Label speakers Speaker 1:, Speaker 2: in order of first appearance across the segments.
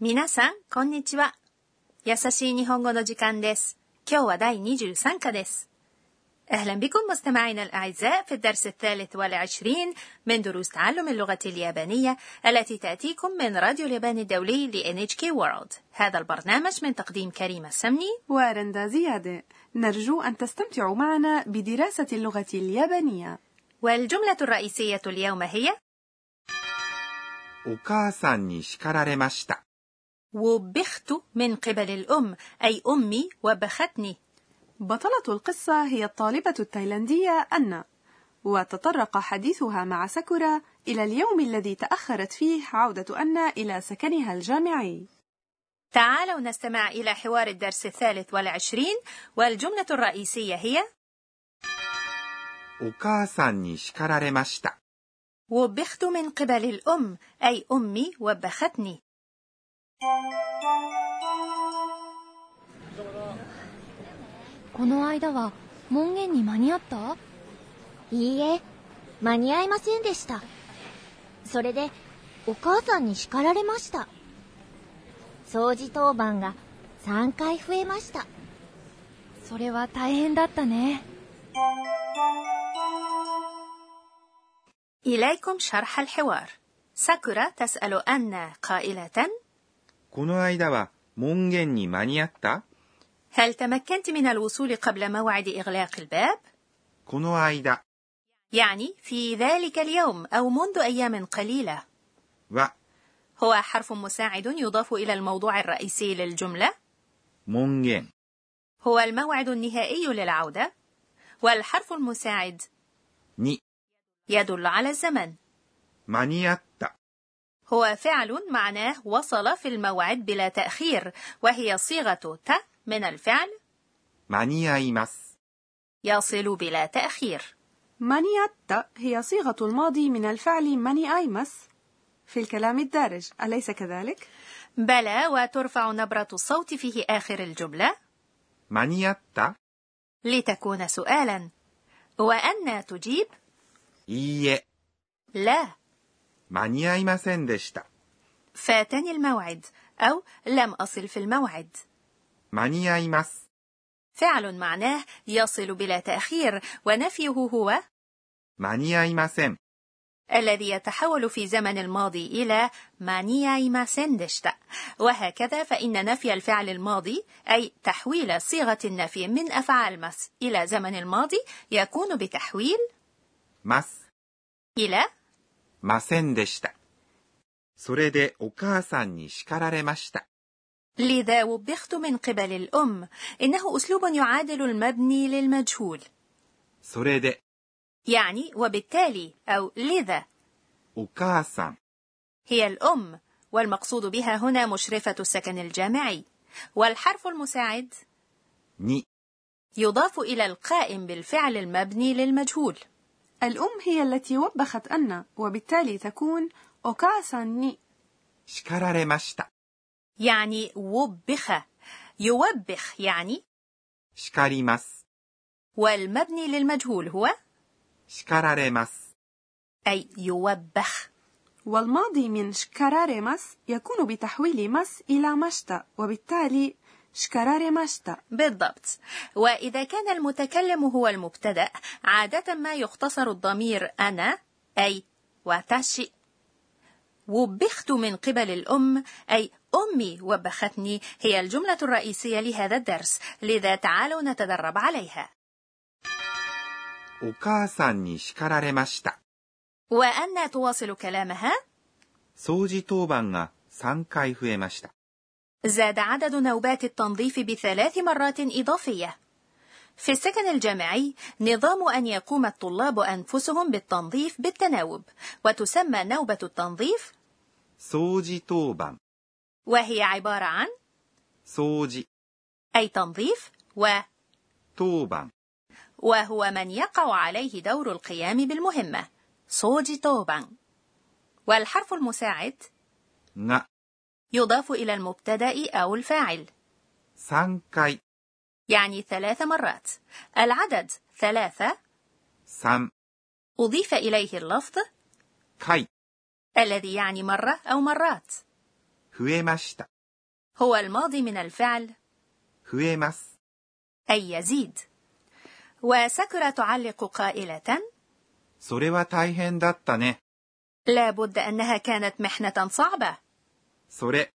Speaker 1: 皆さん、こんにちは。優しい日本語の時間です。今日は第23課です。أهلا بكم مستمعينا الأعزاء في الدرس الثالث والعشرين من دروس تعلم اللغة اليابانية التي تأتيكم من راديو اليابان الدولي ل NHK World هذا البرنامج من تقديم كريمة السمني
Speaker 2: ورندا زيادة نرجو أن تستمتعوا معنا بدراسة اللغة اليابانية
Speaker 1: والجملة الرئيسية اليوم هي
Speaker 3: お母さんに叱られました。
Speaker 1: وبخت من قبل الأم أي أمي وبختني
Speaker 2: بطلة القصة هي الطالبة التايلاندية أنا وتطرق حديثها مع ساكورا إلى اليوم الذي تأخرت فيه عودة أنا إلى سكنها الجامعي
Speaker 1: تعالوا نستمع إلى حوار الدرس الثالث والعشرين والجملة الرئيسية هي
Speaker 3: お母さんに叱られました。
Speaker 1: وبخت من قبل الأم أي أمي وبختني
Speaker 4: この間は門限に間に合った
Speaker 5: いいえ間に合いませんでしたそれでお母さんに叱られました掃除当番が3回増えました
Speaker 4: それは大変だったね
Speaker 1: إليكم شرح الحوار ساكورا تسأل أن قائلة
Speaker 3: この間は門限に間に合った
Speaker 1: هل تمكنت من الوصول قبل موعد إغلاق الباب؟
Speaker 3: この間
Speaker 1: يعني في ذلك اليوم أو منذ أيام قليلة
Speaker 3: は
Speaker 1: هو حرف مساعد يضاف إلى الموضوع الرئيسي للجملة
Speaker 3: 門限
Speaker 1: هو الموعد النهائي للعودة والحرف المساعد
Speaker 3: に
Speaker 1: يدل على الزمن
Speaker 3: 間に合った
Speaker 1: هو فعل معناه وصل في الموعد بلا تأخير وهي صيغة ت من الفعل
Speaker 3: 間に合います
Speaker 1: يصل بلا تأخير
Speaker 2: منيت هي صيغة الماضي من الفعل مني أيمس في الكلام الدارج أليس كذلك؟
Speaker 1: بلى وترفع نبرة الصوت في آخر الجملة
Speaker 3: 間に合った
Speaker 1: لتكون سؤالا وأن تجيب
Speaker 3: いいえ
Speaker 1: لا
Speaker 3: 間に合いませんでした
Speaker 1: فاتني الموعد أو لم أصل في الموعد
Speaker 3: 間に合います
Speaker 1: فعل معناه يصل بلا تأخير ونفيه هو
Speaker 3: 間に合いません
Speaker 1: الذي يتحول في زمن الماضي إلى مانيايماسن دشتا وهكذا فإن نفي الفعل الماضي أي تحويل صيغة النفي من أفعال مس إلى زمن الماضي يكون بتحويل
Speaker 3: ます
Speaker 1: إلى
Speaker 3: ませんでしたそれでお母さんに叱られました
Speaker 1: لذا وبخت من قبل الأم إنه أسلوب يعادل المبني للمجهول
Speaker 3: それで
Speaker 1: يعني وبالتالي أو لذا
Speaker 3: お母さん
Speaker 1: هي الأم والمقصود بها هنا مشرفة السكن الجامعي والحرف المساعد
Speaker 3: に
Speaker 1: يضاف إلى القائم بالفعل المبني للمجهول
Speaker 2: الأم هي التي وبخت أنا وبالتالي تكون أوكاساني
Speaker 3: 叱られました
Speaker 1: يعني وبخ يوبخ يعني
Speaker 3: 叱ります
Speaker 1: والمبني للمجهول هو
Speaker 3: 叱られます
Speaker 1: أي يوبخ
Speaker 2: والماضي من شكرارمس يكون بتحويل مس إلى مشتا وبالتالي شكرارمشتا
Speaker 1: بالضبط وإذا كان المتكلم هو المبتدأ عادة ما يختصر الضمير أنا أي واتاشي وبخت من قبل الأم أي أمي وبختني هي الجملة الرئيسية لهذا الدرس لذا تعالوا نتدرب عليها
Speaker 3: お母さんに叱られました
Speaker 1: وأن تواصل كلامها
Speaker 3: 掃除当番が3回増えました
Speaker 1: زاد عدد نوبات التنظيف بثلاث مرات إضافية في السكن الجامعي نظام أن يقوم الطلاب أنفسهم بالتنظيف بالتناوب وتسمى نوبة التنظيف
Speaker 3: 掃除当番
Speaker 1: وهي عبارة عن
Speaker 3: 掃除
Speaker 1: أي تنظيف و
Speaker 3: 当番
Speaker 1: وهو من يقع عليه دور القيام بالمهمة صوجي توبان والحرف المساعد
Speaker 3: が
Speaker 1: يضاف إلى المبتدأ أو الفاعل
Speaker 3: 3回
Speaker 1: يعني ثلاث مرات العدد ثلاثة
Speaker 3: 3
Speaker 1: أضيف إليه اللفظ
Speaker 3: 回
Speaker 1: الذي يعني مرة أو مرات
Speaker 3: 増えました。
Speaker 1: هو الماضي من الفعل
Speaker 3: 増えます。
Speaker 1: أي يزيد وسكرة تعلق قائلة
Speaker 3: それは大変だったね。
Speaker 1: لا بد أنها كانت محنة صعبة
Speaker 3: それ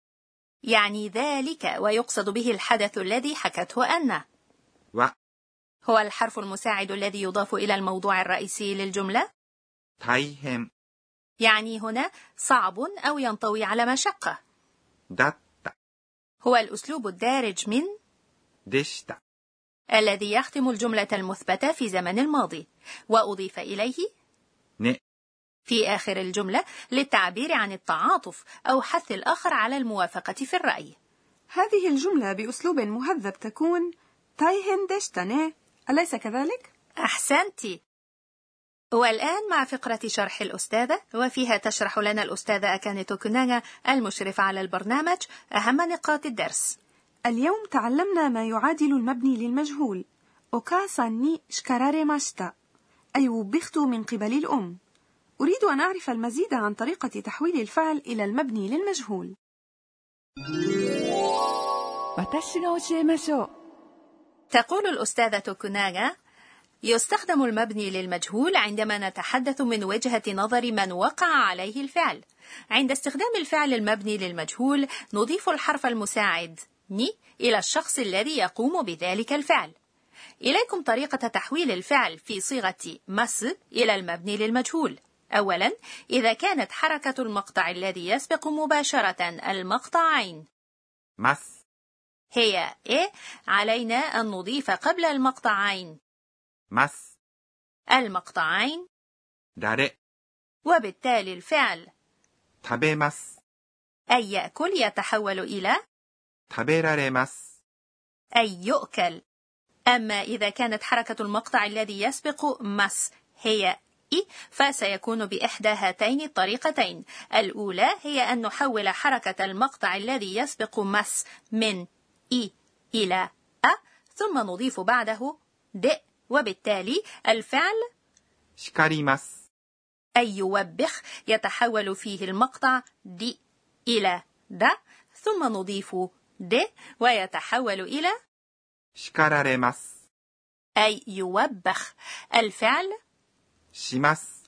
Speaker 1: يعني ذلك ويقصد به الحدث الذي حكته أن
Speaker 3: は
Speaker 1: هو الحرف المساعد الذي يضاف إلى الموضوع الرئيسي للجملة
Speaker 3: 大変
Speaker 1: يعني هنا صعب أو ينطوي على مشقة
Speaker 3: だった。
Speaker 1: هو الأسلوب الدارج من
Speaker 3: でした。
Speaker 1: الذي يختم الجملة المثبتة في زمن الماضي وأضيف إليه
Speaker 3: ね。
Speaker 1: في آخر الجملة للتعبير عن التعاطف أو حث الآخر على الموافقة في الرأي
Speaker 2: هذه الجملة بأسلوب مهذب تكون تايهن دشتني أليس كذلك؟
Speaker 1: أحسنت والآن مع فقرة شرح الأستاذة وفيها تشرح لنا الأستاذة أكانتو كنانا المشرفة على البرنامج أهم نقاط الدرس
Speaker 2: اليوم تعلمنا ما يعادل المبني للمجهول أوكاسا ني شكراري ماشتا أي وبخت من قبل الأم أريد أن أعرف المزيد عن طريقة تحويل الفعل إلى المبني للمجهول
Speaker 6: 私が教えましょう
Speaker 1: تقول الأستاذة كنانا يستخدم المبني للمجهول عندما نتحدث من وجهة نظر من وقع عليه الفعل عند استخدام الفعل المبني للمجهول نضيف الحرف المساعد ني إلى الشخص الذي يقوم بذلك الفعل إليكم طريقة تحويل الفعل في صيغة مس إلى المبني للمجهول أولا إذا كانت حركة المقطع الذي يسبق مباشرة المقطع عين
Speaker 3: ます。
Speaker 1: هي إيه علينا أن نضيف قبل المقطعين
Speaker 3: ます。
Speaker 1: المقطعين
Speaker 3: られ。
Speaker 1: وبالتالي الفعل
Speaker 3: 食べます。
Speaker 1: أي يأكل يتحول إلى
Speaker 3: 食べられます。
Speaker 1: أي يؤكل أما إذا كانت حركة المقطع الذي يسبق مس هي إي فسيكون بإحدى هاتين الطريقتين الأولى هي أن نحول حركة المقطع الذي يسبق مس من إي إلى أ ثم نضيف بعده د وبالتالي الفعل
Speaker 3: 叱ります。
Speaker 1: أي يوبخ يتحول فيه المقطع دي إلى د ثم نضيف د ويتحول إلى
Speaker 3: 叱られます。
Speaker 1: أي يوبخ الفعل
Speaker 3: します。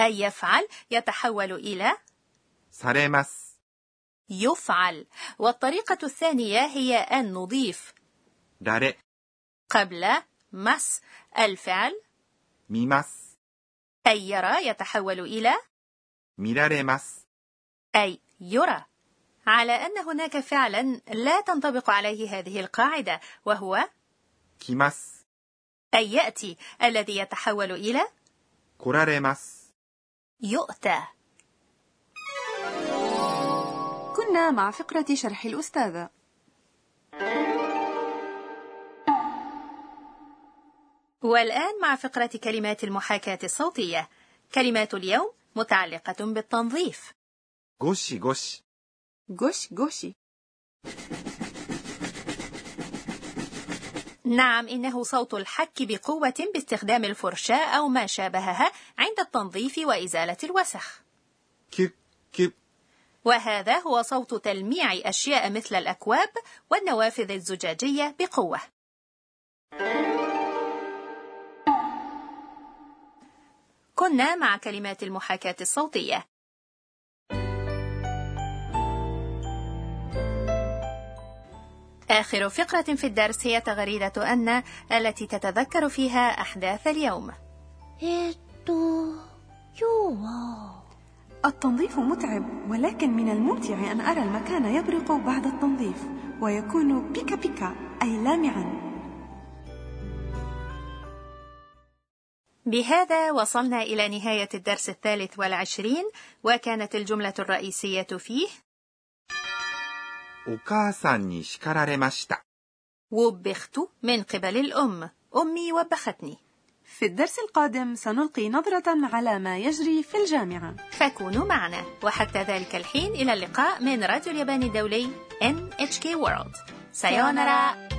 Speaker 1: أي يفعل يتحول إلى
Speaker 3: されます。
Speaker 1: يفعل والطريقة الثانية هي أن نضيف
Speaker 3: られ。
Speaker 1: قبل مس الفعل
Speaker 3: 見ます。
Speaker 1: أي يرى يتحول إلى
Speaker 3: 見られます。
Speaker 1: أي يرى على أن هناك فعلا لا تنطبق عليه هذه القاعدة وهو
Speaker 3: 来ます。
Speaker 1: أي يأتي الذي يتحول إلى
Speaker 3: 来られます。
Speaker 1: يؤتى
Speaker 2: كنا مع فقرة شرح الأستاذة
Speaker 1: والآن مع فقرة كلمات المحاكاة الصوتية كلمات اليوم متعلقة بالتنظيف
Speaker 3: ごしごし。
Speaker 2: غوش غوشي
Speaker 1: نعم إنه صوت الحك بقوة باستخدام الفرشاة أو ما شابهها عند التنظيف وإزالة الوسخ
Speaker 3: キュッキュッ。
Speaker 1: وهذا هو صوت تلميع أشياء مثل الأكواب والنوافذ الزجاجية بقوة كنا مع كلمات المحاكاة الصوتية آخر فقرة في الدرس هي تغريدة أن التي تتذكر فيها أحداث اليوم
Speaker 4: えっと今日は
Speaker 2: التنظيف متعب ولكن من الممتع أن أرى المكان يبرق بعد التنظيف ويكون بيكا بيكا أي لامعا
Speaker 1: بهذا وصلنا إلى نهاية الدرس الثالث والعشرين وكانت الجملة الرئيسية فيه
Speaker 3: お母さんに叱られました。
Speaker 1: وبخت من قبل الأم أمي وبختني
Speaker 2: في الدرس القادم سنلقي نظرة على ما يجري في الجامعة
Speaker 1: فكونوا معنا وحتى ذلك الحين إلى اللقاء من راديو اليابان الدولي NHK World سايونارا